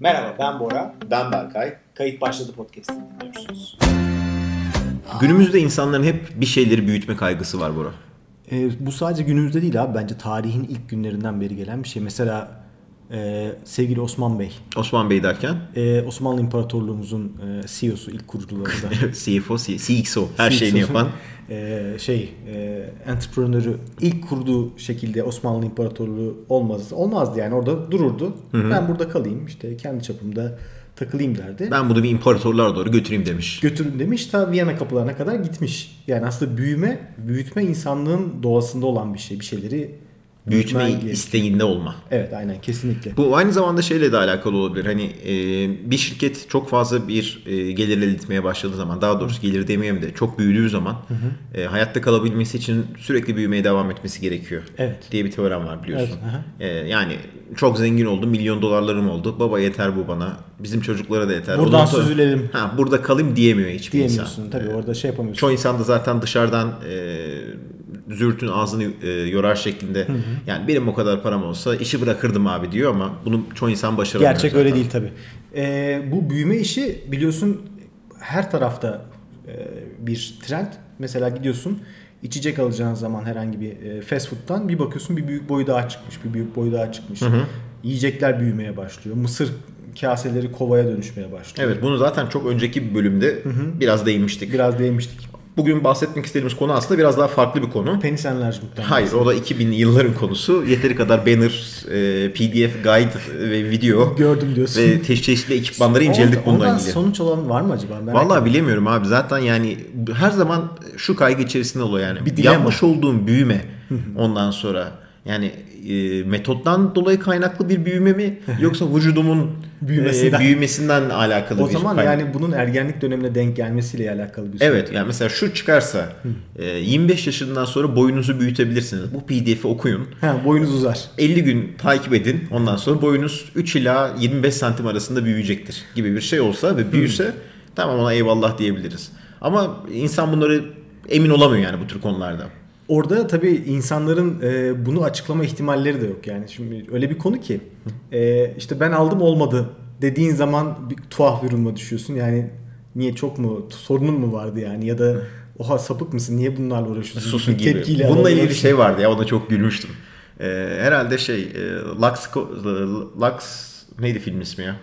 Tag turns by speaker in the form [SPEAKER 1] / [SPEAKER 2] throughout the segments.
[SPEAKER 1] Merhaba ben Bora.
[SPEAKER 2] Ben Berkay.
[SPEAKER 1] Kayıt başladı podcast'ini dinliyorsunuz.
[SPEAKER 3] Günümüzde insanların hep bir şeyleri büyütme kaygısı var Bora.
[SPEAKER 4] E, bu sadece günümüzde değil abi bence tarihin ilk günlerinden beri gelen bir şey. Mesela e, sevgili Osman Bey,
[SPEAKER 3] Osman Bey derken
[SPEAKER 4] e, Osmanlı İmparatorluğumuzun e, CEO'su ilk kurucuları da.
[SPEAKER 3] CFO, C- CXO her
[SPEAKER 4] CXO.
[SPEAKER 3] şeyini yapan.
[SPEAKER 4] E, şey, e, entrepreneur'ü ilk kurduğu şekilde Osmanlı İmparatorluğu olmaz, olmazdı yani orada dururdu. Ben burada kalayım işte kendi çapımda takılayım derdi.
[SPEAKER 3] Ben bunu bir imparatorluğa doğru götüreyim demiş.
[SPEAKER 4] götürün demiş ta Viyana kapılarına kadar gitmiş. Yani aslında büyüme, büyütme insanlığın doğasında olan bir şey. Bir şeyleri
[SPEAKER 3] Büyütme
[SPEAKER 4] büyütmeye-
[SPEAKER 3] isteğinde olma.
[SPEAKER 4] Evet aynen kesinlikle.
[SPEAKER 3] Bu aynı zamanda şeyle de alakalı olabilir. Hani e, bir şirket çok fazla bir e, gelir elde etmeye başladığı zaman, daha doğrusu gelir demeyeyim de çok büyüdüğü zaman e, hayatta kalabilmesi için sürekli büyümeye devam etmesi gerekiyor.
[SPEAKER 4] Evet.
[SPEAKER 3] Diye bir teorem var biliyorsun.
[SPEAKER 4] Evet, aha.
[SPEAKER 3] E, yani çok zengin oldum, milyon dolarlarım oldu. Baba yeter bu bana. Bizim çocuklara da yeter.
[SPEAKER 4] Buradan
[SPEAKER 3] Ondan sonra-
[SPEAKER 4] süzülelim.
[SPEAKER 3] Ha, burada kalayım diyemiyor hiçbir insan.
[SPEAKER 4] diyemiyorsun. Tabii orada şey yapamıyorsun.
[SPEAKER 3] Çoğu insan da zaten dışarıdan e, zürtün ağzını e, yorar şeklinde. Yani benim o kadar param olsa işi bırakırdım abi diyor ama bunu çoğu insan başaramıyor.
[SPEAKER 4] Gerçek
[SPEAKER 3] zaten.
[SPEAKER 4] öyle değil tabii. Ee, bu büyüme işi biliyorsun her tarafta e, bir trend. Mesela gidiyorsun içecek alacağın zaman herhangi bir e, fast food'tan bir bakıyorsun bir büyük boyu daha çıkmış, bir büyük boyu daha çıkmış. Yiyecekler büyümeye başlıyor. Mısır kaseleri kovaya dönüşmeye başlıyor.
[SPEAKER 3] Evet bunu zaten çok önceki bir bölümde biraz değinmiştik.
[SPEAKER 4] Biraz değmiştik.
[SPEAKER 3] Bugün bahsetmek istediğimiz konu aslında biraz daha farklı bir konu.
[SPEAKER 4] Penis enlargement'tan.
[SPEAKER 3] Hayır o da 2000'li yılların konusu. Yeteri kadar banner, e, pdf, guide ve video
[SPEAKER 4] Gördüm diyorsun.
[SPEAKER 3] ve çeşitli ekipmanları inceledik
[SPEAKER 4] Ondan-
[SPEAKER 3] bununla
[SPEAKER 4] ondan
[SPEAKER 3] ilgili.
[SPEAKER 4] sonuç olan var mı acaba? Merak
[SPEAKER 3] Vallahi bilemiyorum abi zaten yani her zaman şu kaygı içerisinde oluyor yani.
[SPEAKER 4] Bir dilema.
[SPEAKER 3] Yapmış olduğum büyüme ondan sonra yani e, metottan dolayı kaynaklı bir büyüme mi yoksa vücudumun büyümesinden,
[SPEAKER 4] Büyümesinden.
[SPEAKER 3] büyümesinden alakalı
[SPEAKER 4] O
[SPEAKER 3] bir
[SPEAKER 4] zaman
[SPEAKER 3] kaynak.
[SPEAKER 4] yani bunun ergenlik dönemine denk gelmesiyle alakalı bir şey.
[SPEAKER 3] Evet yani mesela şu çıkarsa e, 25 yaşından sonra boyunuzu büyütebilirsiniz. Bu pdf'i okuyun.
[SPEAKER 4] Ha, boyunuz uzar.
[SPEAKER 3] 50 gün takip edin. Ondan sonra boyunuz 3 ila 25 santim arasında büyüyecektir gibi bir şey olsa ve büyüse
[SPEAKER 4] Hmm.
[SPEAKER 3] tamam ona eyvallah diyebiliriz. Ama insan bunları emin olamıyor yani bu tür konularda.
[SPEAKER 4] Orada tabii insanların e, bunu açıklama ihtimalleri de yok yani. Şimdi öyle bir konu ki e, işte ben aldım olmadı dediğin zaman bir tuhaf bir duruma düşüyorsun. Yani niye çok mu sorunun mu vardı yani ya da oha sapık mısın niye bunlarla uğraşıyorsun?
[SPEAKER 3] Susun
[SPEAKER 4] Bir
[SPEAKER 3] gibi.
[SPEAKER 4] tepkiyle
[SPEAKER 3] Bununla
[SPEAKER 4] alınan-
[SPEAKER 3] ilgili bir şey vardı ya ona çok gülmüştüm. Ee, herhalde şey e, Lux, Co- Lux neydi film ismi ya?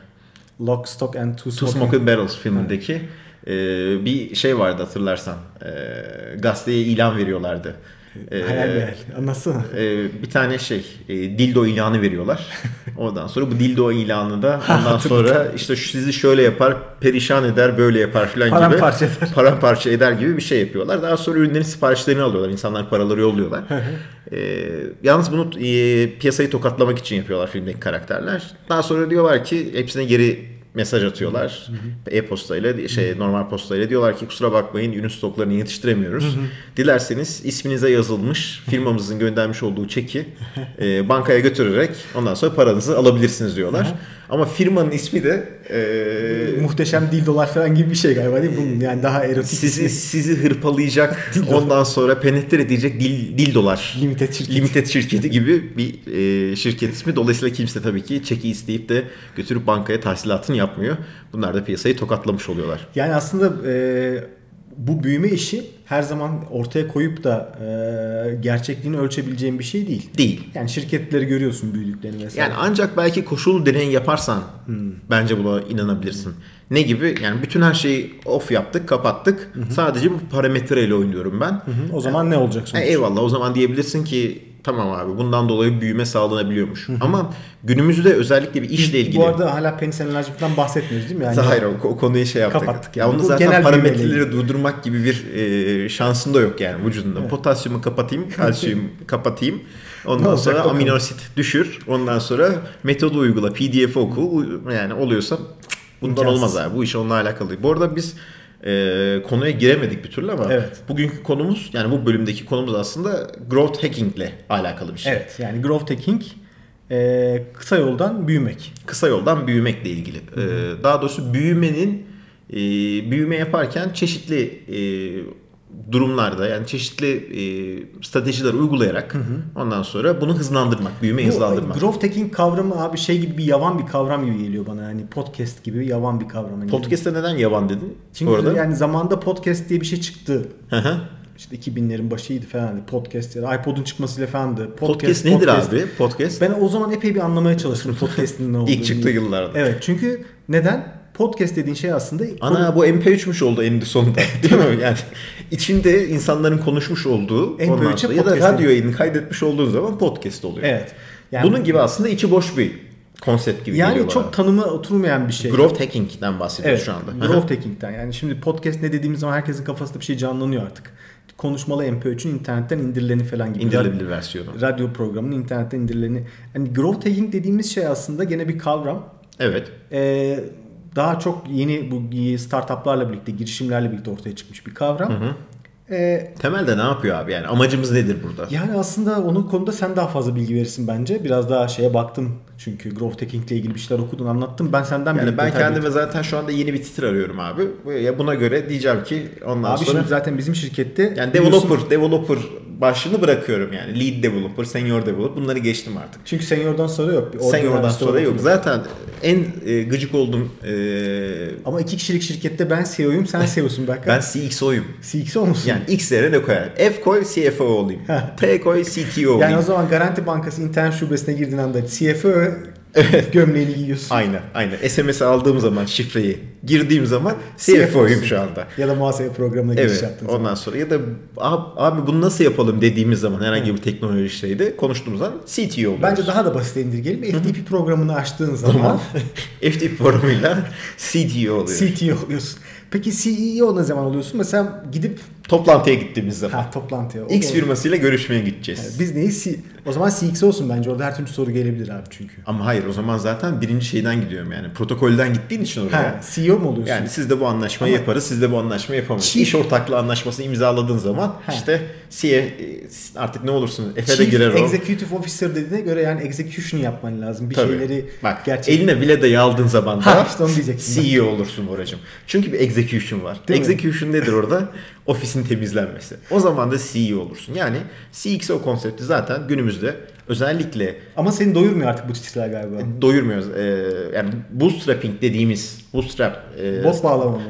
[SPEAKER 4] Lock, Stock and Two
[SPEAKER 3] Two
[SPEAKER 4] Smoking.
[SPEAKER 3] Smoking Barrels filmindeki e, bir şey vardı hatırlarsan. E, gazeteye ilan veriyorlardı. E,
[SPEAKER 4] Hayal meyal. Anlatsana.
[SPEAKER 3] Ee, bir tane şey e, dildo ilanı veriyorlar. Ondan sonra bu dildo ilanı da ondan sonra işte şu- sizi şöyle yapar, perişan eder, böyle yapar filan gibi.
[SPEAKER 4] Paramparça eder.
[SPEAKER 3] Paramparça eder gibi bir şey yapıyorlar. Daha sonra ürünlerin siparişlerini alıyorlar. İnsanlar paraları yolluyorlar. Ee, yalnız bunu e, piyasayı tokatlamak için yapıyorlar filmdeki karakterler. Daha sonra diyorlar ki hepsine geri mesaj atıyorlar. E-postayla şey normal postayla diyorlar ki kusura bakmayın ürün stoklarını yetiştiremiyoruz. Dilerseniz isminize yazılmış firmamızın göndermiş olduğu çeki e, bankaya götürerek ondan sonra paranızı alabilirsiniz diyorlar. Ama firmanın ismi de e,
[SPEAKER 4] Muhteşem dil dolar falan gibi bir şey galiba değil mi? Bunun yani daha erotik.
[SPEAKER 3] sizi sizi hırpalayacak ondan sonra penetre edecek dil, dil dolar.
[SPEAKER 4] Limited şirket.
[SPEAKER 3] Limited şirketi gibi bir e, şirket ismi. Dolayısıyla kimse tabii ki çeki isteyip de götürüp bankaya tahsilatını yapmıyor. Bunlar da piyasayı tokatlamış oluyorlar.
[SPEAKER 4] Yani aslında e, bu büyüme işi her zaman ortaya koyup da e, gerçekliğini ölçebileceğin bir şey değil.
[SPEAKER 3] Değil.
[SPEAKER 4] Yani şirketleri görüyorsun büyüdüklerini vesaire.
[SPEAKER 3] Yani ancak belki koşul deney yaparsan
[SPEAKER 4] Hmm.
[SPEAKER 3] bence buna inanabilirsin. Ne gibi? Yani bütün her şeyi off yaptık, kapattık. Sadece bu parametreyle oynuyorum ben.
[SPEAKER 4] Hı, o zaman ne olacak
[SPEAKER 3] Ha,
[SPEAKER 4] sonuç?
[SPEAKER 3] E, eyvallah o zaman diyebilirsin ki tamam abi bundan dolayı büyüme sağlanabiliyormuş. Ama günümüzde özellikle bir işle ilgili
[SPEAKER 4] Bu arada hala penis enlargement'dan bahsetmiyoruz değil mi? Yani
[SPEAKER 3] Hayır o, o konuyu şey yaptık.
[SPEAKER 4] Kapattık
[SPEAKER 3] ya
[SPEAKER 4] yani.
[SPEAKER 3] onu
[SPEAKER 4] Bu
[SPEAKER 3] zaten
[SPEAKER 4] genel
[SPEAKER 3] parametreleri
[SPEAKER 4] bilgilerle
[SPEAKER 3] durdurmak gibi bir e, şansın da yok yani vücudunda. Potasyumu kapatayım, kalsiyum kapatayım.
[SPEAKER 4] Ne
[SPEAKER 3] Ondan
[SPEAKER 4] olacak
[SPEAKER 3] sonra
[SPEAKER 4] bakalım.
[SPEAKER 3] aminosit düşür. Ondan sonra metodu uygula, PDF oku. U- Yani oluyorsa cık, bundan
[SPEAKER 4] İmkansız.
[SPEAKER 3] olmaz abi. Bu iş onunla alakalı. Bu arada biz e, konuya giremedik bir türlü ama
[SPEAKER 4] Evet.
[SPEAKER 3] bugünkü konumuz yani bu bölümdeki konumuz aslında growth hackingle alakalı bir şey.
[SPEAKER 4] Evet yani growth hacking e, kısa yoldan büyümek.
[SPEAKER 3] kısa yoldan büyümekle ilgili. Ee, daha doğrusu büyümenin e, büyüme yaparken çeşitli e, durumlarda yani çeşitli e, stratejiler uygulayarak ondan sonra bunu hızlandırmak, büyümeyi hızlandırmak.
[SPEAKER 4] Bu growth hacking kavramı abi şey gibi bir yavan bir kavram gibi geliyor bana. Yani podcast gibi yavan bir kavram. Yani
[SPEAKER 3] Podcast'te neden yavan dedin?
[SPEAKER 4] Çünkü
[SPEAKER 3] bu arada?
[SPEAKER 4] yani zamanda podcast diye bir şey çıktı.
[SPEAKER 3] Hı hı.
[SPEAKER 4] İşte 2000'lerin başıydı falan. hani Podcast ya da iPod'un çıkmasıyla falandı. Podcast,
[SPEAKER 3] podcast nedir
[SPEAKER 4] podcast.
[SPEAKER 3] abi? Podcast
[SPEAKER 4] Ben o zaman epey bir anlamaya çalıştım podcast'in ne olduğunu.
[SPEAKER 3] ilk çıktığı yıllarda.
[SPEAKER 4] Evet çünkü neden? Podcast dediğin şey aslında
[SPEAKER 3] Ana bu MP3'müş oldu en sonunda değil mi? Yani içinde insanların konuşmuş olduğu
[SPEAKER 4] MP3'e
[SPEAKER 3] ondan sonra ya da
[SPEAKER 4] şey podcast
[SPEAKER 3] radyo yayını kaydetmiş olduğu zaman podcast oluyor.
[SPEAKER 4] Evet. Yani-
[SPEAKER 3] Bunun gibi aslında içi boş bir konsept gibi
[SPEAKER 4] yani
[SPEAKER 3] geliyor
[SPEAKER 4] çok
[SPEAKER 3] bana.
[SPEAKER 4] tanıma oturmayan bir şey.
[SPEAKER 3] Growth hacking'den bahsediyoruz
[SPEAKER 4] evet,
[SPEAKER 3] şu anda.
[SPEAKER 4] Growth hacking'den. Yani şimdi podcast ne dediğimiz zaman herkesin kafasında bir şey canlanıyor artık. Konuşmalı MP3'ün internetten indirileni falan gibi.
[SPEAKER 3] İndirilebilir versiyonu.
[SPEAKER 4] Radyo programının internetten indirileni. Yani growth hacking dediğimiz şey aslında gene bir kavram.
[SPEAKER 3] Evet.
[SPEAKER 4] Ee, daha çok yeni bu startuplarla birlikte, girişimlerle birlikte ortaya çıkmış bir kavram. Ee,
[SPEAKER 3] Temelde ne yapıyor abi yani amacımız nedir burada?
[SPEAKER 4] yani aslında onun konuda sen daha fazla bilgi verirsin bence. Biraz daha şeye baktın çünkü growth hacking ile ilgili bir şeyler okudun, anlattın. Ben senden
[SPEAKER 3] Yani
[SPEAKER 4] bir
[SPEAKER 3] ben
[SPEAKER 4] detay
[SPEAKER 3] kendime zaten şu anda yeni bir titir arıyorum abi. Ya buna göre diyeceğim ki ondan
[SPEAKER 4] Abi
[SPEAKER 3] sonra
[SPEAKER 4] şimdi zaten bizim şirkette
[SPEAKER 3] yani
[SPEAKER 4] biliyorsun-
[SPEAKER 3] developer developer başlığını bırakıyorum yani. Lead developer, senior developer bunları geçtim artık.
[SPEAKER 4] Çünkü senior'dan sonra yok. Bir
[SPEAKER 3] Senior'dan
[SPEAKER 4] ordinary
[SPEAKER 3] sonra yok.
[SPEAKER 4] yok.
[SPEAKER 3] Zaten en e, gıcık olduğum e,
[SPEAKER 4] Ama iki kişilik şirkette ben CEO'yum, sen CEO'sun Berkay. E
[SPEAKER 3] ben CXO'yum.
[SPEAKER 4] CXO musun?
[SPEAKER 3] Yani X yerine ne koyarım? F koy CFO olayım. T koy CTO olayım.
[SPEAKER 4] Yani o zaman Garanti Bankası internet şubesine girdiğin anda CFO gömleğini giyiyorsun.
[SPEAKER 3] Aynen aynen. SMS aldığım zaman şifreyi girdiğim zaman CFO'yum şu anda.
[SPEAKER 4] Ya da muhasebe programına giriş
[SPEAKER 3] Evet.
[SPEAKER 4] yaptın.
[SPEAKER 3] Ondan sonra ya da "Ab- abi bunu nasıl yapalım dediğimiz zaman herhangi bir teknoloji şeyde konuştuğumuz zaman CTO oluyoruz.
[SPEAKER 4] Bence daha da basite indirgelim. FTP programını açtığın zaman
[SPEAKER 3] Tamam. FTP forumuyla CTO oluyoruz.
[SPEAKER 4] CTO E oluyorsun. Peki CEO ne zaman oluyorsun? Mesela gidip
[SPEAKER 3] Toplantıya gittiğimiz zaman.
[SPEAKER 4] ha toplantıya. O-
[SPEAKER 3] X
[SPEAKER 4] o-
[SPEAKER 3] firmasıyla görüşmeye gideceğiz.
[SPEAKER 4] Biz neyiz? C- O zaman CXO olsun bence. Orada her türlü soru gelebilir abi çünkü.
[SPEAKER 3] Ama hayır o zaman zaten birinci şeyden gidiyorum yani. Protokolden gittiğin için oraya.
[SPEAKER 4] Ha, CEO mu oluyorsun?
[SPEAKER 3] Yani siz de bu anlaşmayı yaparız, siz de bu anlaşmayı yapamayız.
[SPEAKER 4] Chief-
[SPEAKER 3] İş ortaklığı anlaşmasını imzaladığın zaman
[SPEAKER 4] Ha.
[SPEAKER 3] işte CE artık ne olursun Efe de
[SPEAKER 4] Chief
[SPEAKER 3] girer o.
[SPEAKER 4] Executive Officer dediğine göre yani execution yapman lazım. Bir
[SPEAKER 3] Tabii.
[SPEAKER 4] şeyleri
[SPEAKER 3] Bak e-
[SPEAKER 4] gerçek-
[SPEAKER 3] eline bile de yaldığın zaman da
[SPEAKER 4] Ha, işte onu diyecektim ben.
[SPEAKER 3] CEO olursun Boracım. Çünkü bir execution var.
[SPEAKER 4] Değil mi?
[SPEAKER 3] execution nedir orada? Ofisin temizlenmesi. O zaman da CEO olursun. Yani CXO konsepti zaten günümüzde özellikle
[SPEAKER 4] Ama seni doyurmuyor artık bu titrler galiba.
[SPEAKER 3] doyurmuyoruz. Ee, yani bootstrapping dediğimiz bootstrap e,
[SPEAKER 4] Bot bağlama mı?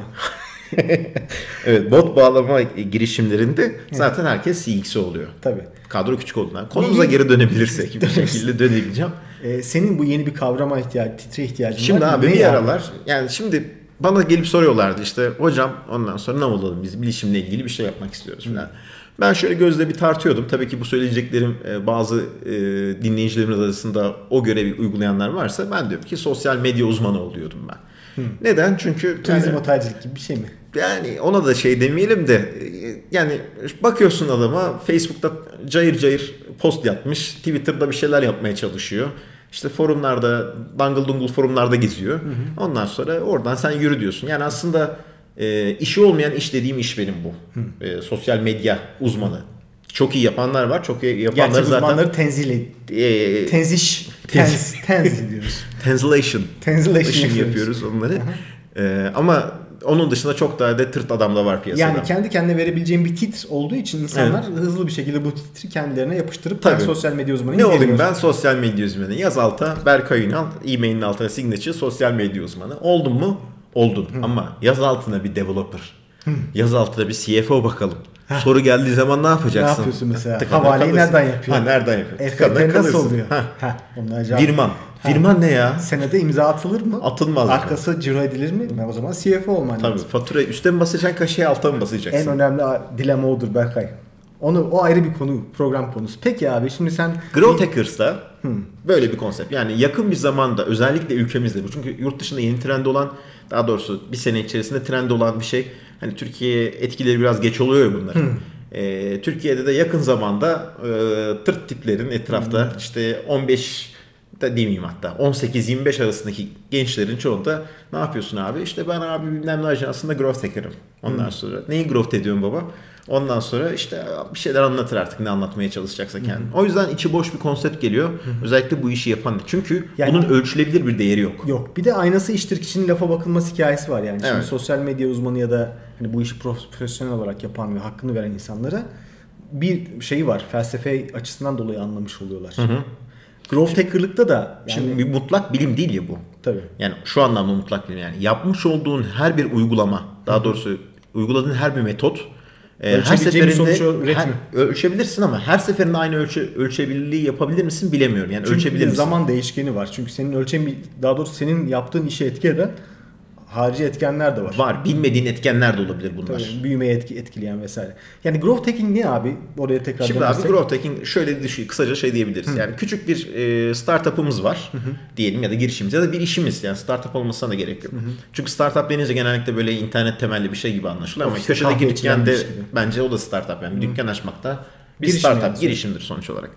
[SPEAKER 3] evet bot bağlama girişimlerinde zaten herkes CXO oluyor.
[SPEAKER 4] Tabii.
[SPEAKER 3] Kadro küçük olduğundan. Konumuza geri dönebilirsek bir şekilde dönebileceğim.
[SPEAKER 4] Ee, senin bu yeni bir kavrama ihtiyacı, titre ihtiyacın
[SPEAKER 3] Şimdi
[SPEAKER 4] var.
[SPEAKER 3] abi
[SPEAKER 4] Ne
[SPEAKER 3] bir
[SPEAKER 4] ya?
[SPEAKER 3] aralar yani şimdi bana gelip soruyorlardı işte hocam ondan sonra ne olalım biz bilişimle ilgili bir şey yapmak istiyoruz falan. Ben şöyle gözle bir tartıyordum. Tabii ki bu söyleyeceklerim e, bazı e, dinleyicilerimiz arasında o görevi uygulayanlar varsa ben diyorum ki sosyal medya uzmanı oluyordum ben. Neden? Çünkü
[SPEAKER 4] Turizm
[SPEAKER 3] yani-
[SPEAKER 4] otelcilik gibi bir şey mi?
[SPEAKER 3] yani ona da şey demeyelim de e, yani bakıyorsun adama Facebook'ta cayır cayır post yapmış. Twitter'da bir şeyler yapmaya çalışıyor. İşte forumlarda dangıl dungul forumlarda geziyor. Ondan sonra oradan sen yürü diyorsun. Yani aslında e, işi olmayan iş dediğim iş benim bu. E, sosyal medya uzmanı. Çok iyi yapanlar var. Çok iyi yapanlar
[SPEAKER 4] Gerçek
[SPEAKER 3] zaten
[SPEAKER 4] uzmanları tenzil
[SPEAKER 3] e,
[SPEAKER 4] Tenziş. Tenz, tenzil diyoruz.
[SPEAKER 3] Translation.
[SPEAKER 4] Translation
[SPEAKER 3] Işın
[SPEAKER 4] yapıyoruz.
[SPEAKER 3] yapıyoruz onları. Ee, ama onun dışında çok daha da tırt adam da var piyasada.
[SPEAKER 4] Yani kendi kendine verebileceğin bir titr olduğu için insanlar hızlı bir şekilde bu titri kendilerine yapıştırıp
[SPEAKER 3] Tabii.
[SPEAKER 4] ben sosyal medya uzmanıyım.
[SPEAKER 3] ne olayım
[SPEAKER 4] diyebiliyorlar.
[SPEAKER 3] ben sosyal medya uzmanı. Yaz alta Berkay Ünal e-mailin altına signature sosyal medya uzmanı. Oldun mu? Oldun. Ama yaz altına bir developer. Yaz altına bir CFO bakalım. Soru geldiği zaman ne yapacaksın?
[SPEAKER 4] Ne yapıyorsun mesela?
[SPEAKER 3] Tıkana
[SPEAKER 4] Havaleyi
[SPEAKER 3] kalıyorsun.
[SPEAKER 4] nereden yapıyorsun?
[SPEAKER 3] Ha, nereden yapıyorsun? Tıkana
[SPEAKER 4] EFT nasıl
[SPEAKER 3] kalıyorsun.
[SPEAKER 4] oluyor?
[SPEAKER 3] Ha.
[SPEAKER 4] Ha, onlar cevap-
[SPEAKER 3] Virman. Virman ne ya?
[SPEAKER 4] Senede imza atılır mı?
[SPEAKER 3] Atılmaz.
[SPEAKER 4] Arkası ciro edilir mi? Ben O zaman CFO olman
[SPEAKER 3] Tabii
[SPEAKER 4] lazım.
[SPEAKER 3] faturayı üstte mi basacaksın kaşeye alta mı basacaksın?
[SPEAKER 4] En önemli a- dilema odur Berkay. Onu o ayrı bir konu, program konusu. Peki abi şimdi sen
[SPEAKER 3] Growth Hackers'da böyle bir konsept. Yani yakın bir zamanda özellikle ülkemizde bu. Çünkü yurt dışında yeni trend olan daha doğrusu bir sene içerisinde trend olan bir şey. Hani Türkiye etkileri biraz geç oluyor ya bunların. Ee, Türkiye'de de yakın zamanda e, tırt tiplerin etrafta işte 15 da demeyeyim hatta 18-25 arasındaki gençlerin çoğunda ne yapıyorsun abi? İşte ben abi bilmem ne ajansında growth hacker'ım. Ondan sonra neyi growth ediyorsun baba? Ondan sonra işte bir şeyler anlatır artık ne anlatmaya çalışacaksa kendini. O yüzden içi boş bir konsept geliyor. Özellikle bu işi yapan. Çünkü
[SPEAKER 4] Yani-
[SPEAKER 3] bunun ölçülebilir bir değeri yok.
[SPEAKER 4] yok bir de aynası iştir kişinin lafa bakılması hikayesi var yani. Şimdi
[SPEAKER 3] Evet.
[SPEAKER 4] sosyal medya uzmanı ya da hani hani bu işi profesyonel olarak yapan ve hakkını veren insanlara bir şeyi var. Felsefe açısından dolayı anlamış oluyorlar. Growth hackerlıkta da yani,
[SPEAKER 3] Şimdi bir mutlak bilim değil ya bu.
[SPEAKER 4] tabii.
[SPEAKER 3] Yani şu anlamda mutlak bilim yani yapmış olduğun her bir uygulama, daha doğrusu uyguladığın her bir metot e, her
[SPEAKER 4] Ölçebileceğin bir
[SPEAKER 3] seferinde
[SPEAKER 4] sonuç üretimi.
[SPEAKER 3] her- ölçebilirsin ama her seferinde aynı ölçü ölçebilirliği yapabilir misin bilemiyorum. Yani
[SPEAKER 4] Çünkü
[SPEAKER 3] ölçebilir
[SPEAKER 4] bir
[SPEAKER 3] misin?
[SPEAKER 4] zaman değişkeni var. Çünkü senin ölçemi daha doğrusu senin yaptığın işe etki eden harici etkenler de var.
[SPEAKER 3] var. Bilmediğin etkenler de olabilir bunlar.
[SPEAKER 4] Tabii, büyümeye etki, etkileyen vesaire. Yani growth hacking ne abi? Oraya tekrar
[SPEAKER 3] Şimdi
[SPEAKER 4] dönersek.
[SPEAKER 3] abi growth hacking şöyle düşün, kısaca şey diyebiliriz. Yani küçük bir e, startup'ımız var diyelim ya da girişimiz ya da bir işimiz yani startup olmasına da gerek yok. Çünkü startup denince genellikle böyle internet temelli bir şey gibi anlaşılıyor ama
[SPEAKER 4] Ofiste
[SPEAKER 3] köşedeki
[SPEAKER 4] kahve içilen
[SPEAKER 3] dükkanda
[SPEAKER 4] bir iş gibi.
[SPEAKER 3] bence o da startup yani bir dükkan açmak da bir
[SPEAKER 4] Girişim
[SPEAKER 3] startup
[SPEAKER 4] yani.
[SPEAKER 3] girişimdir sonuç olarak.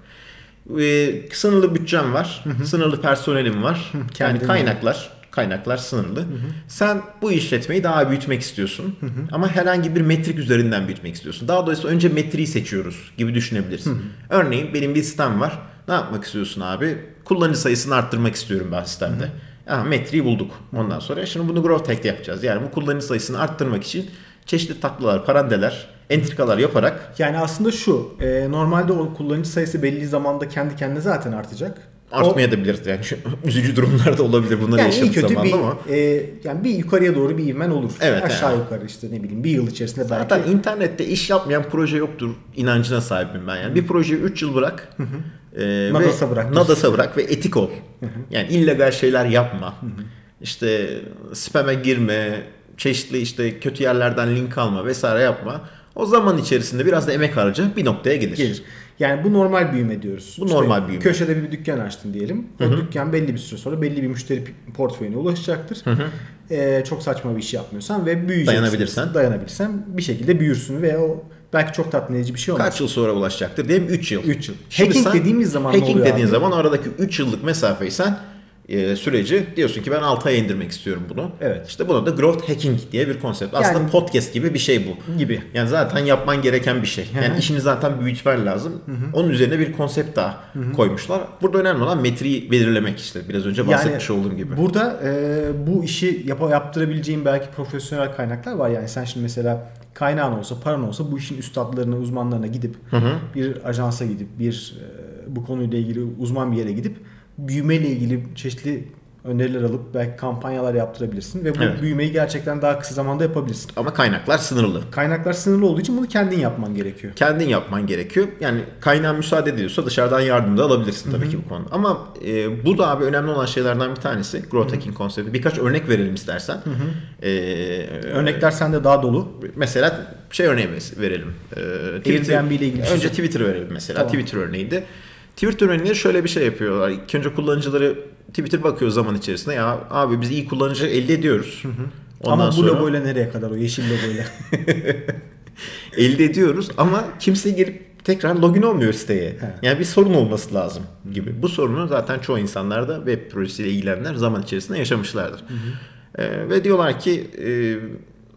[SPEAKER 3] E, sınırlı bütçem var, sınırlı personelim var, yani
[SPEAKER 4] kendin
[SPEAKER 3] kaynaklar kaynaklar sınırlı. Sen bu işletmeyi daha büyütmek istiyorsun ama herhangi bir metrik üzerinden büyütmek istiyorsun. Daha doğrusu önce metriği seçiyoruz gibi düşünebilirsin. Örneğin benim bir sistem var. Ne yapmak istiyorsun abi? Kullanıcı sayısını arttırmak istiyorum ben sistemde. Aha, metriği bulduk. Ondan sonra şimdi bunu growth hack'te yapacağız. Yani bu kullanıcı sayısını arttırmak için çeşitli taklalar, parandeler, entrikalar yaparak
[SPEAKER 4] Yani aslında şu, e, normalde o kullanıcı sayısı belli zamanda kendi kendine zaten artacak. O-
[SPEAKER 3] artmaya da biliriz. Yani şu üzücü durumlar da olabilir bunları
[SPEAKER 4] yani iyi
[SPEAKER 3] yaşadık
[SPEAKER 4] kötü
[SPEAKER 3] zamanında
[SPEAKER 4] bir,
[SPEAKER 3] ama.
[SPEAKER 4] e, yani bir yukarıya doğru bir ivmen olur.
[SPEAKER 3] Evet,
[SPEAKER 4] Aşağı
[SPEAKER 3] yani.
[SPEAKER 4] yukarı işte ne bileyim bir yıl içerisinde belki.
[SPEAKER 3] Zaten internette iş yapmayan proje yoktur inancına sahibim ben yani. Bir projeyi 3 yıl bırak. e,
[SPEAKER 4] Nadas'a
[SPEAKER 3] ve-
[SPEAKER 4] bırak diyorsun.
[SPEAKER 3] Nadas'a bırak ve etik ol. yani illegal şeyler yapma. işte spam'e girme, çeşitli işte kötü yerlerden link alma vesaire yapma. O zaman içerisinde biraz da emek harca bir noktaya gelir.
[SPEAKER 4] gelir. Yani bu normal büyüme diyoruz.
[SPEAKER 3] Bu normal büyüme.
[SPEAKER 4] Köşede bir dükkan açtın diyelim. O dükkan belli bir süre sonra belli bir müşteri pi- portföyüne ulaşacaktır. Ee, çok saçma bir iş yapmıyorsan ve büyüyeceksin.
[SPEAKER 3] Dayanabilirsen.
[SPEAKER 4] Dayanabilirsen bir şekilde büyürsün ve o belki çok tatmin edici bir şey olmaz.
[SPEAKER 3] Kaç yıl sonra ulaşacaktır? Diyelim 3 yıl.
[SPEAKER 4] Üç yıl.
[SPEAKER 3] Şimdi
[SPEAKER 4] Hacking
[SPEAKER 3] sen-
[SPEAKER 4] dediğimiz zaman ne
[SPEAKER 3] Hacking
[SPEAKER 4] oluyor
[SPEAKER 3] dediğin
[SPEAKER 4] abi?
[SPEAKER 3] zaman o aradaki 3 yıllık mesafeyi sen e, süreci diyorsun ki ben 6 aya indirmek istiyorum bunu.
[SPEAKER 4] Evet.
[SPEAKER 3] İşte buna da growth hacking diye bir konsept. Aslında
[SPEAKER 4] Yani-
[SPEAKER 3] podcast gibi bir şey bu.
[SPEAKER 4] Gibi.
[SPEAKER 3] Yani zaten yapman gereken bir şey.
[SPEAKER 4] hı.
[SPEAKER 3] Yani işini zaten büyütmen lazım. Onun üzerine bir konsept daha koymuşlar. Burada önemli olan metriği belirlemek işte biraz önce bahsetmiş olduğum gibi.
[SPEAKER 4] Burada e, bu işi yap- yaptırabileceğin belki profesyonel kaynaklar var. Yani sen şimdi mesela kaynağın olsa, paran olsa bu işin üstadlarına, uzmanlarına gidip bir ajansa gidip bir e, bu konuyla ilgili uzman bir yere gidip büyümeyle ilgili çeşitli öneriler alıp belki kampanyalar yaptırabilirsin ve bu
[SPEAKER 3] Evet.
[SPEAKER 4] büyümeyi gerçekten daha kısa zamanda yapabilirsin.
[SPEAKER 3] Ama kaynaklar sınırlı.
[SPEAKER 4] Kaynaklar sınırlı olduğu için bunu kendin yapman gerekiyor.
[SPEAKER 3] kendin yapman gerekiyor. Yani kaynağın müsaade ediyorsa dışarıdan yardım da alabilirsin tabii ki bu konuda. Ama e, bu da abi önemli olan şeylerden bir tanesi. Growth hacking konsepti. Birkaç örnek verelim istersen. E,
[SPEAKER 4] Örnekler sende daha dolu.
[SPEAKER 3] Mesela şey örneği mes- verelim. Ee,
[SPEAKER 4] Airbnb ile ilgili
[SPEAKER 3] Önce
[SPEAKER 4] şey.
[SPEAKER 3] Twitter verelim mesela.
[SPEAKER 4] Tamam.
[SPEAKER 3] Twitter örneğiydi. Twitter örneğinde şöyle bir şey yapıyorlar. İlk önce kullanıcıları Twitter bakıyor zaman içerisinde. Ya abi biz iyi kullanıcı elde ediyoruz.
[SPEAKER 4] Ama bu
[SPEAKER 3] sonra-
[SPEAKER 4] logoyla nereye kadar o yeşil logoyla?
[SPEAKER 3] elde ediyoruz ama kimse gelip tekrar login olmuyor siteye. Yani bir sorun olması lazım gibi. Bu sorunu zaten çoğu insanlar da web projesiyle ilgilenenler zaman içerisinde yaşamışlardır. Ee, ve diyorlar ki e,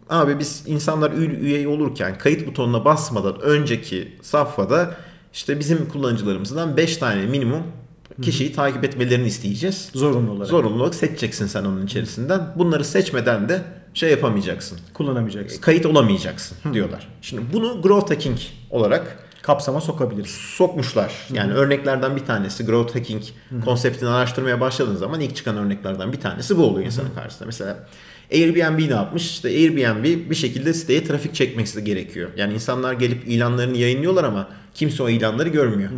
[SPEAKER 3] abi biz insanlar ü- üye olurken kayıt butonuna basmadan önceki safhada işte bizim kullanıcılarımızdan 5 tane minimum kişiyi takip etmelerini isteyeceğiz.
[SPEAKER 4] Zorunlu olarak.
[SPEAKER 3] Zorunlu olarak seçeceksin sen onun içerisinden. Bunları seçmeden de şey yapamayacaksın
[SPEAKER 4] Kullanamayacaksın.
[SPEAKER 3] kayıt olamayacaksın diyorlar. Şimdi bunu growth hacking olarak
[SPEAKER 4] Kapsama sokabilirsin.
[SPEAKER 3] sokmuşlar. Yani örneklerden bir tanesi growth hacking konseptini araştırmaya başladığın zaman ilk çıkan örneklerden bir tanesi bu oluyor insanın karşısında. Mesela Airbnb ne yapmış? İşte Airbnb bir şekilde siteye trafik çekmesi gerekiyor. Yani insanlar gelip ilanlarını yayınlıyorlar ama kimse o ilanları görmüyor.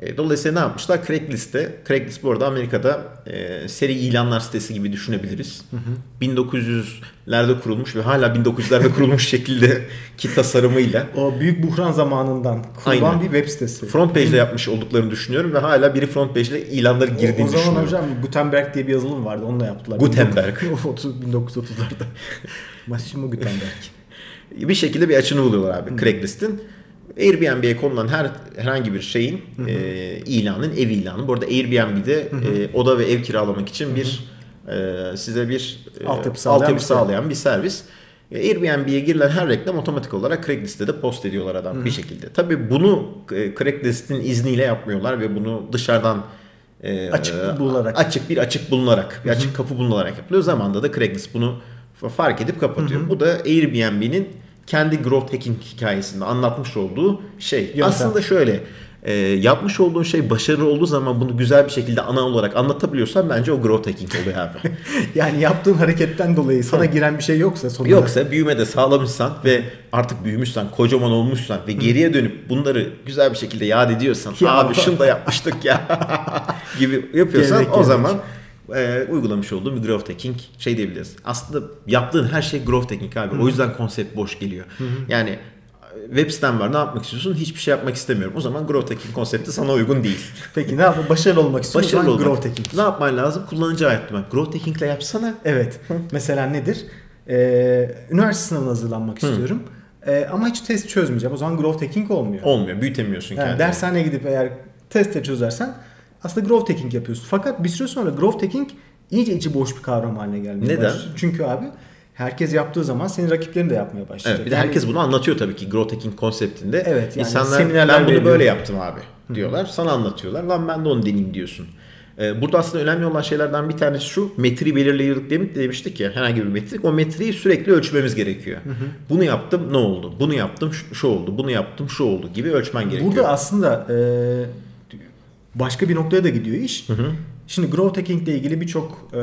[SPEAKER 3] E, Dolayısıyla ne yapmışlar? Craigslist'te, Craigslist bu arada Amerika'da e, seri ilanlar sitesi gibi düşünebiliriz. 1900'lerde kurulmuş ve hala 1900'lerde kurulmuş şekilde ki tasarımıyla.
[SPEAKER 4] O büyük buhran zamanından kurulan
[SPEAKER 3] Aynen.
[SPEAKER 4] bir web sitesi.
[SPEAKER 3] Front page'le yapmış olduklarını düşünüyorum ve hala biri front page'le ilanları
[SPEAKER 4] O-
[SPEAKER 3] girdiğini
[SPEAKER 4] o zaman
[SPEAKER 3] düşünüyorum.
[SPEAKER 4] hocam Gutenberg diye bir yazılım vardı. Onunla yaptılar.
[SPEAKER 3] Gutenberg.
[SPEAKER 4] 30 1930'larda. Massimo Gutenberg.
[SPEAKER 3] Bir şekilde bir açını buluyorlar abi Craigslist'in. Airbnb'ye konulan her herhangi bir şeyin e, ilanın ev ilanı. Bu arada Airbnb'de e, oda ve ev kiralamak için bir e, size bir e,
[SPEAKER 4] Altyapı sağlayan
[SPEAKER 3] altyapı
[SPEAKER 4] bir servis.
[SPEAKER 3] sağlayan bir servis. E, Airbnb'ye girilen her reklam otomatik olarak Craigslist'e de post ediyorlar adam bir şekilde. Tabii bunu e, Craigslist'in izniyle yapmıyorlar ve bunu dışarıdan e,
[SPEAKER 4] Açık bulunarak.
[SPEAKER 3] açık bir açık bulunarak, bir açık kapı bulunarak yapılıyor. Zamanda da Craigslist bunu f- fark edip kapatıyor. Bu da Airbnb'nin kendi growth hacking hikayesinde anlatmış olduğu şey.
[SPEAKER 4] Yöntem.
[SPEAKER 3] Aslında şöyle e, yapmış olduğun şey başarılı olduğu zaman bunu güzel bir şekilde ana olarak anlatabiliyorsan bence o growth hacking oluyor abi.
[SPEAKER 4] Yani yaptığın hareketten dolayı sana giren bir şey yoksa sonunda.
[SPEAKER 3] Yoksa büyümede sağlamışsan ve artık büyümüşsen, kocaman olmuşsan ve geriye dönüp bunları güzel bir şekilde yad ediyorsan
[SPEAKER 4] Ki
[SPEAKER 3] abi
[SPEAKER 4] abi-
[SPEAKER 3] şunu da yapmıştık ya gibi yapıyorsan
[SPEAKER 4] Gevrek
[SPEAKER 3] o
[SPEAKER 4] gevrek.
[SPEAKER 3] zaman e, uygulamış olduğun bir growth hacking şey diyebiliriz. Aslında yaptığın her şey growth hacking abi. O yüzden konsept boş geliyor. Yani e, web sitem var ne yapmak istiyorsun? Hiçbir şey yapmak istemiyorum. O zaman growth hacking konsepti sana uygun değil.
[SPEAKER 4] Peki ne yapalım? Başarılı olmak istiyorsan
[SPEAKER 3] Başarılı olmak.
[SPEAKER 4] growth hacking.
[SPEAKER 3] Ne yapman lazım? Kullanıcı hayatı. Growth hackingle yapsana.
[SPEAKER 4] Evet. Mesela nedir? Ee, üniversite sınavına hazırlanmak istiyorum. Ee, ama hiç test çözmeyeceğim. O zaman growth hacking olmuyor.
[SPEAKER 3] Olmuyor. Büyütemiyorsun
[SPEAKER 4] Yani
[SPEAKER 3] kendini.
[SPEAKER 4] dershaneye gidip eğer testle çözersen aslında growth hacking yapıyorsun. Fakat bir süre sonra growth hacking iyice içi boş bir kavram haline gelmeye
[SPEAKER 3] Neden?
[SPEAKER 4] başlıyor. Çünkü abi herkes yaptığı zaman senin rakiplerin de yapmaya başlayacak.
[SPEAKER 3] Evet, bir de
[SPEAKER 4] Yani
[SPEAKER 3] herkes bunu anlatıyor tabii ki growth hacking konseptinde.
[SPEAKER 4] Evet, yani
[SPEAKER 3] İnsanlar
[SPEAKER 4] seminerler
[SPEAKER 3] ben bunu
[SPEAKER 4] veriliyor."
[SPEAKER 3] böyle yaptım abi diyorlar. Sana anlatıyorlar. Lan ben de onu deneyeyim diyorsun. Ee, Burada aslında önemli olan şeylerden bir tanesi şu. Metriği belirleyerek demi- demiştik ya herhangi bir metrik. O metriği sürekli ölçmemiz gerekiyor. Bunu yaptım ne oldu? Bunu yaptım şu, şu oldu. Bunu yaptım şu oldu gibi ölçmen gerekiyor.
[SPEAKER 4] Burada aslında e, başka bir noktaya da gidiyor iş. Şimdi growth hacking ile ilgili birçok e,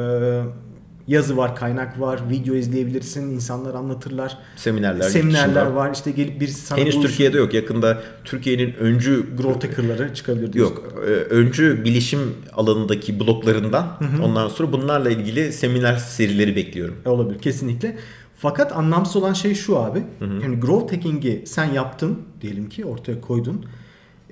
[SPEAKER 4] yazı var, kaynak var, video izleyebilirsin, insanlar anlatırlar.
[SPEAKER 3] seminerler, yurt
[SPEAKER 4] Seminerler
[SPEAKER 3] dışında.
[SPEAKER 4] var. İşte gelip birisi sana
[SPEAKER 3] Henüz
[SPEAKER 4] bu
[SPEAKER 3] Türkiye'de yok. Yakında Türkiye'nin öncü
[SPEAKER 4] growth hacker'ları çıkabilir diyorsun.
[SPEAKER 3] Yok. e, Öncü bilişim alanındaki bloklarından ondan sonra bunlarla ilgili seminer serileri bekliyorum.
[SPEAKER 4] E, olabilir kesinlikle. Fakat anlamsız olan şey şu abi. Yani growth hacking'i sen yaptın diyelim ki ortaya koydun.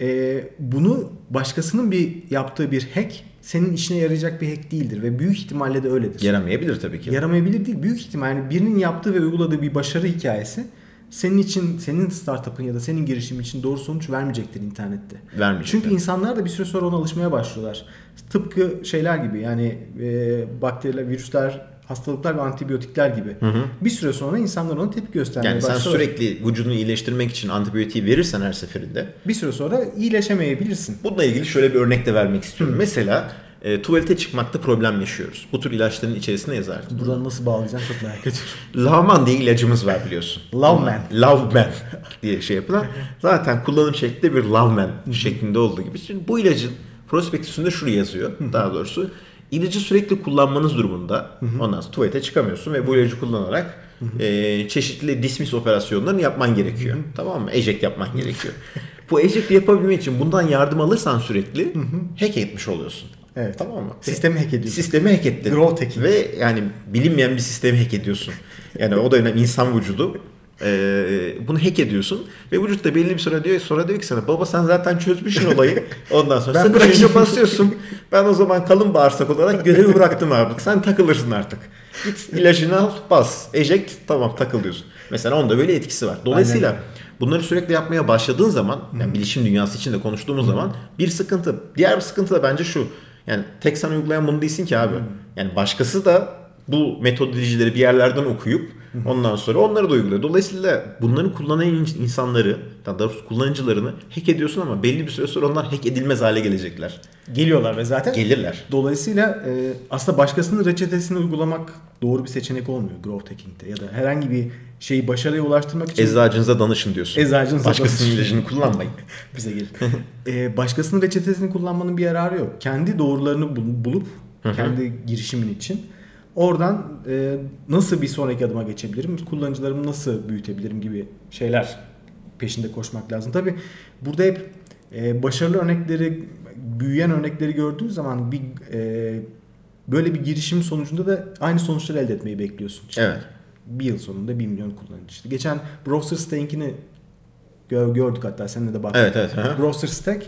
[SPEAKER 4] E, bunu başkasının bir yaptığı bir hack senin işine yarayacak bir hack değildir ve büyük ihtimalle de öyledir.
[SPEAKER 3] Yaramayabilir tabii ki.
[SPEAKER 4] Yaramayabilir değil. Büyük ihtimal yani birinin yaptığı ve uyguladığı bir başarı hikayesi senin için, senin startup'ın ya da senin girişimin için doğru sonuç vermeyecektir internette.
[SPEAKER 3] Vermeyecektir.
[SPEAKER 4] Çünkü insanlar da bir süre sonra ona alışmaya başlıyorlar. Tıpkı şeyler gibi yani e, bakteriler, virüsler, hastalıklar ve antibiyotikler gibi. Bir süre sonra insanlar ona tepki göstermeye
[SPEAKER 3] yani sen
[SPEAKER 4] başlıyorlar.
[SPEAKER 3] sürekli vücudunu iyileştirmek için antibiyotiği verirsen her seferinde.
[SPEAKER 4] Bir süre sonra iyileşemeyebilirsin.
[SPEAKER 3] Bununla ilgili şöyle bir örnek de vermek istiyorum. Mesela e, tuvalete çıkmakta problem yaşıyoruz. Bu tür ilaçların içerisine yazar.
[SPEAKER 4] Buradan nasıl bağlayacağım çok merak ediyorum.
[SPEAKER 3] Lavman diye ilacımız var biliyorsun.
[SPEAKER 4] Love man.
[SPEAKER 3] Love Man diye şey yapılan. Zaten kullanım şekli de bir Love Man şeklinde olduğu gibi. Şimdi bu ilacın prospektüsünde şunu yazıyor daha doğrusu. İlacı sürekli kullanmanız durumunda ondan sonra tuvalete çıkamıyorsun ve bu ilacı kullanarak e, çeşitli dismiss operasyonlarını yapman gerekiyor. Tamam mı? Eject yapman gerekiyor. bu eject'i yapabilmek için bundan yardım alırsan sürekli hack etmiş oluyorsun.
[SPEAKER 4] Evet.
[SPEAKER 3] Tamam mı?
[SPEAKER 4] Sistemi hack ediyorsun.
[SPEAKER 3] Sistemi hack ettin.
[SPEAKER 4] Growth hacking.
[SPEAKER 3] Ve yani bilinmeyen bir sistemi hack ediyorsun. Yani o da önemli insan vücudu. Ee, bunu hack ediyorsun ve vücut da belli bir süre diyor sonra diyor ki sana baba sen zaten çözmüşsün olayı. Ondan sonra
[SPEAKER 4] Ben
[SPEAKER 3] sen
[SPEAKER 4] bırakayım."
[SPEAKER 3] bırakıp basıyorsun. Ben o zaman kalın bağırsak olarak görevi bıraktım abi. Sen takılırsın artık. Git ilacını al, bas, eject, tamam takılıyorsun. Mesela onda böyle etkisi var. Dolayısıyla bunları sürekli yapmaya başladığın zaman, yani bilişim dünyası için de konuştuğumuz zaman bir sıkıntı. Diğer bir sıkıntı da bence şu. Yani tek sen uygulayan bunu değilsin ki abi. Yani başkası da bu metodolojileri bir yerlerden okuyup ondan sonra onları da uyguluyor. Dolayısıyla bunları kullanan in- insanları, daha doğrusu kullanıcılarını hack ediyorsun ama belli bir süre sonra onlar hack edilmez hale gelecekler.
[SPEAKER 4] Geliyorlar ve zaten
[SPEAKER 3] Gelirler.
[SPEAKER 4] Dolayısıyla e, aslında başkasının reçetesini uygulamak doğru bir seçenek olmuyor growth hacking'de ya da herhangi bir şeyi başarıya ulaştırmak için
[SPEAKER 3] Eczacınıza danışın diyorsun.
[SPEAKER 4] Eczacınıza
[SPEAKER 3] Başkasının
[SPEAKER 4] danışın.
[SPEAKER 3] ilacını kullanmayın.
[SPEAKER 4] bize gelin. E, başkasının reçetesini kullanmanın bir yararı yok. Kendi doğrularını bul- bulup kendi girişimin için oradan e, nasıl bir sonraki adıma geçebilirim, kullanıcılarımı nasıl büyütebilirim gibi şeyler peşinde koşmak lazım. Tabi burada hep e, başarılı örnekleri, büyüyen örnekleri gördüğün zaman bir e, böyle bir girişim sonucunda da aynı sonuçları elde etmeyi bekliyorsun. İşte
[SPEAKER 3] Evet.
[SPEAKER 4] bir yıl sonunda 1 milyon kullanıcı. İşte geçen Browser Stack'inkini gö- gördük hatta seninle de baktık.
[SPEAKER 3] Evet, evet, hı hı.
[SPEAKER 4] Browser Stack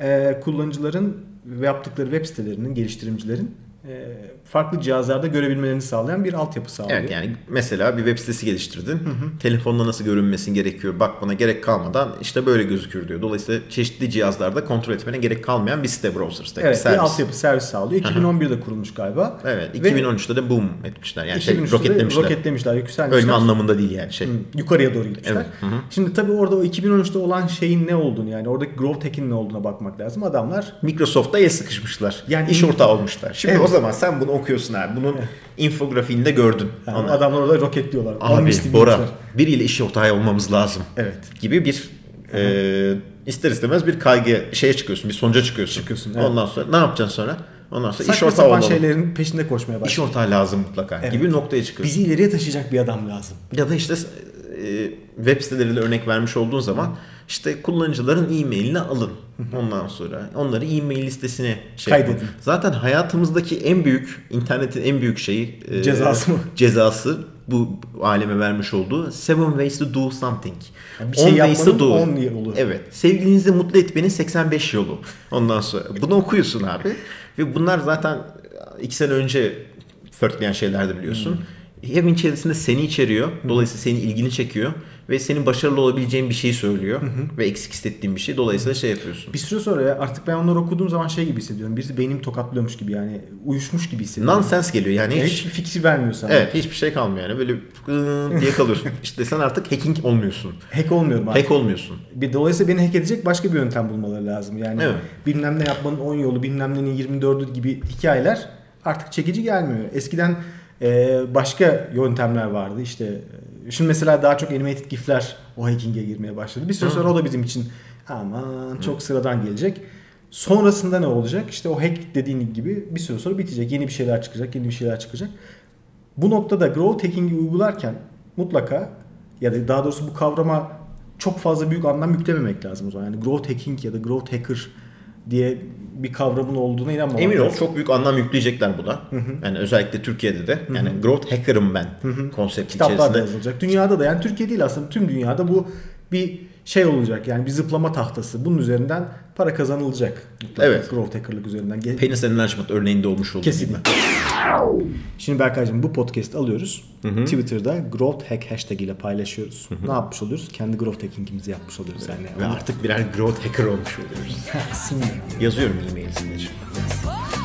[SPEAKER 4] e, kullanıcıların ve yaptıkları web sitelerinin, geliştirimcilerin e, farklı cihazlarda görebilmelerini sağlayan bir altyapı sağlıyor.
[SPEAKER 3] Evet yani mesela bir web sitesi geliştirdin. Telefonla nasıl görünmesi gerekiyor bakmana gerek kalmadan işte böyle gözükür diyor. Dolayısıyla çeşitli cihazlarda kontrol etmene gerek kalmayan bir site browser site.
[SPEAKER 4] Evet,
[SPEAKER 3] bir
[SPEAKER 4] bir
[SPEAKER 3] servis.
[SPEAKER 4] altyapı servis sağlıyor. 2011'de kurulmuş galiba.
[SPEAKER 3] Evet
[SPEAKER 4] Ve
[SPEAKER 3] 2013'te de boom etmişler. Yani şey,
[SPEAKER 4] 2013'te de
[SPEAKER 3] roketlemişler.
[SPEAKER 4] roketlemişler, yükselmişler.
[SPEAKER 3] Ölme anlamında değil yani şey.
[SPEAKER 4] yukarıya doğru gitmişler.
[SPEAKER 3] Evet, hı hı.
[SPEAKER 4] Şimdi tabii orada o 2013'te olan şeyin ne olduğunu yani oradaki growth hack'in ne olduğuna bakmak lazım. Adamlar
[SPEAKER 3] Microsoft'ta el sıkışmışlar.
[SPEAKER 4] Yani
[SPEAKER 3] Yani iş
[SPEAKER 4] in-
[SPEAKER 3] ortağı olmuşlar. Şimdi
[SPEAKER 4] Evet.
[SPEAKER 3] o zaman sen bunu okuyorsun abi. Bunun infografiğinde gördün.
[SPEAKER 4] Yani
[SPEAKER 3] Anladın.
[SPEAKER 4] adamlar orada roketliyorlar.
[SPEAKER 3] Abi
[SPEAKER 4] Amnesty
[SPEAKER 3] Bora
[SPEAKER 4] demişler.
[SPEAKER 3] biriyle işi ortağı olmamız lazım.
[SPEAKER 4] Evet.
[SPEAKER 3] Gibi bir e, ister istemez bir kaygı şeye çıkıyorsun. Bir sonuca çıkıyorsun.
[SPEAKER 4] Çıkıyorsun, evet.
[SPEAKER 3] Ondan sonra ne yapacaksın sonra? Ondan sonra iş
[SPEAKER 4] Saçma
[SPEAKER 3] ortağı
[SPEAKER 4] sapan
[SPEAKER 3] olalım.
[SPEAKER 4] şeylerin peşinde koşmaya
[SPEAKER 3] İş
[SPEAKER 4] başlıyor.
[SPEAKER 3] ortağı lazım mutlaka
[SPEAKER 4] Evet.
[SPEAKER 3] gibi noktaya çıkıyorsun.
[SPEAKER 4] Bizi ileriye taşıyacak bir adam lazım.
[SPEAKER 3] Ya da işte e, web siteleriyle örnek vermiş olduğun zaman işte kullanıcıların e-mailini alın. Ondan sonra onları e-mail listesine şey yapın.
[SPEAKER 4] Kaydedin.
[SPEAKER 3] Zaten hayatımızdaki en büyük, internetin en büyük şeyi e,
[SPEAKER 4] Cezası mı?
[SPEAKER 3] Cezası bu aleme vermiş olduğu seven ways to do something.
[SPEAKER 4] Yani bir şey
[SPEAKER 3] On ways to
[SPEAKER 4] yapmanın
[SPEAKER 3] do it.
[SPEAKER 4] on yolu.
[SPEAKER 3] Evet. Sevgilinizi mutlu etmenin 85 yolu. Ondan sonra bunu okuyorsun abi. Ve bunlar zaten 2 sene önce flörtleyen şeylerdi biliyorsun. Hem içerisinde seni içeriyor. Dolayısıyla senin ilgini çekiyor. Ve senin başarılı olabileceğin bir şeyi söylüyor. Ve eksik hissettiğin bir şey. Dolayısıyla şey yapıyorsun.
[SPEAKER 4] Bir süre sonra ya artık ben onları okuduğum zaman şey gibi hissediyorum. Birisi beynimi tokatlıyormuş gibi yani. Uyuşmuş gibi hissediyorum.
[SPEAKER 3] Nonsense geliyor yani.
[SPEAKER 4] Yani
[SPEAKER 3] Hiç,
[SPEAKER 4] hiçbir fikri vermiyor sana.
[SPEAKER 3] evet hiçbir şey kalmıyor yani. Böyle gıı diye kalıyorsun. işte sen artık hacking olmuyorsun.
[SPEAKER 4] Hack olmuyorum artık.
[SPEAKER 3] Hack olmuyorsun.
[SPEAKER 4] Bir dolayısıyla beni hack edecek başka bir yöntem bulmaları lazım. Yani
[SPEAKER 3] Evet.
[SPEAKER 4] bilmem ne yapmanın 10 yolu, bilmem nenin 24'ü gibi hikayeler artık çekici gelmiyor. Eskiden e, başka yöntemler vardı. İşte e, şimdi mesela daha çok animated gifler o hacking'e girmeye başladı. Bir süre sonra o da bizim için aman çok sıradan gelecek. Sonrasında ne olacak? İşte o hack dediğin gibi bir süre sonra bitecek. Yeni bir şeyler çıkacak, yeni bir şeyler çıkacak. Bu noktada growth hacking'i uygularken mutlaka ya da daha doğrusu bu kavrama çok fazla büyük anlam yüklememek lazım o zaman. Yani growth hacking ya da growth hacker diye bir kavramın olduğuna inanmamak
[SPEAKER 3] Emin ol
[SPEAKER 4] lazım.
[SPEAKER 3] çok büyük anlam yükleyecekler buna. Yani özellikle Türkiye'de de yani growth hacker'ım ben konsept
[SPEAKER 4] Kitaplarda
[SPEAKER 3] içerisinde.
[SPEAKER 4] yazılacak. Dünyada da yani Türkiye değil aslında tüm dünyada bu bir şey olacak. Yani bir zıplama tahtası. Bunun üzerinden para kazanılacak. Mutlaka
[SPEAKER 3] Evet.
[SPEAKER 4] Growth hackerlık üzerinden. Ge-
[SPEAKER 3] Penis enlargement örneğinde olmuş olduğu gibi.
[SPEAKER 4] Kesinlikle. Şimdi Berkay'cığım bu podcast'i alıyoruz. Twitter'da growth hack hashtag ile paylaşıyoruz. Ne yapmış oluyoruz? Kendi growth hacking'imizi yapmış oluyoruz yani.
[SPEAKER 3] Ve artık birer growth hacker olmuş oluyoruz.
[SPEAKER 4] Sinir.
[SPEAKER 3] Yazıyorum e-mail size.
[SPEAKER 2] Oh!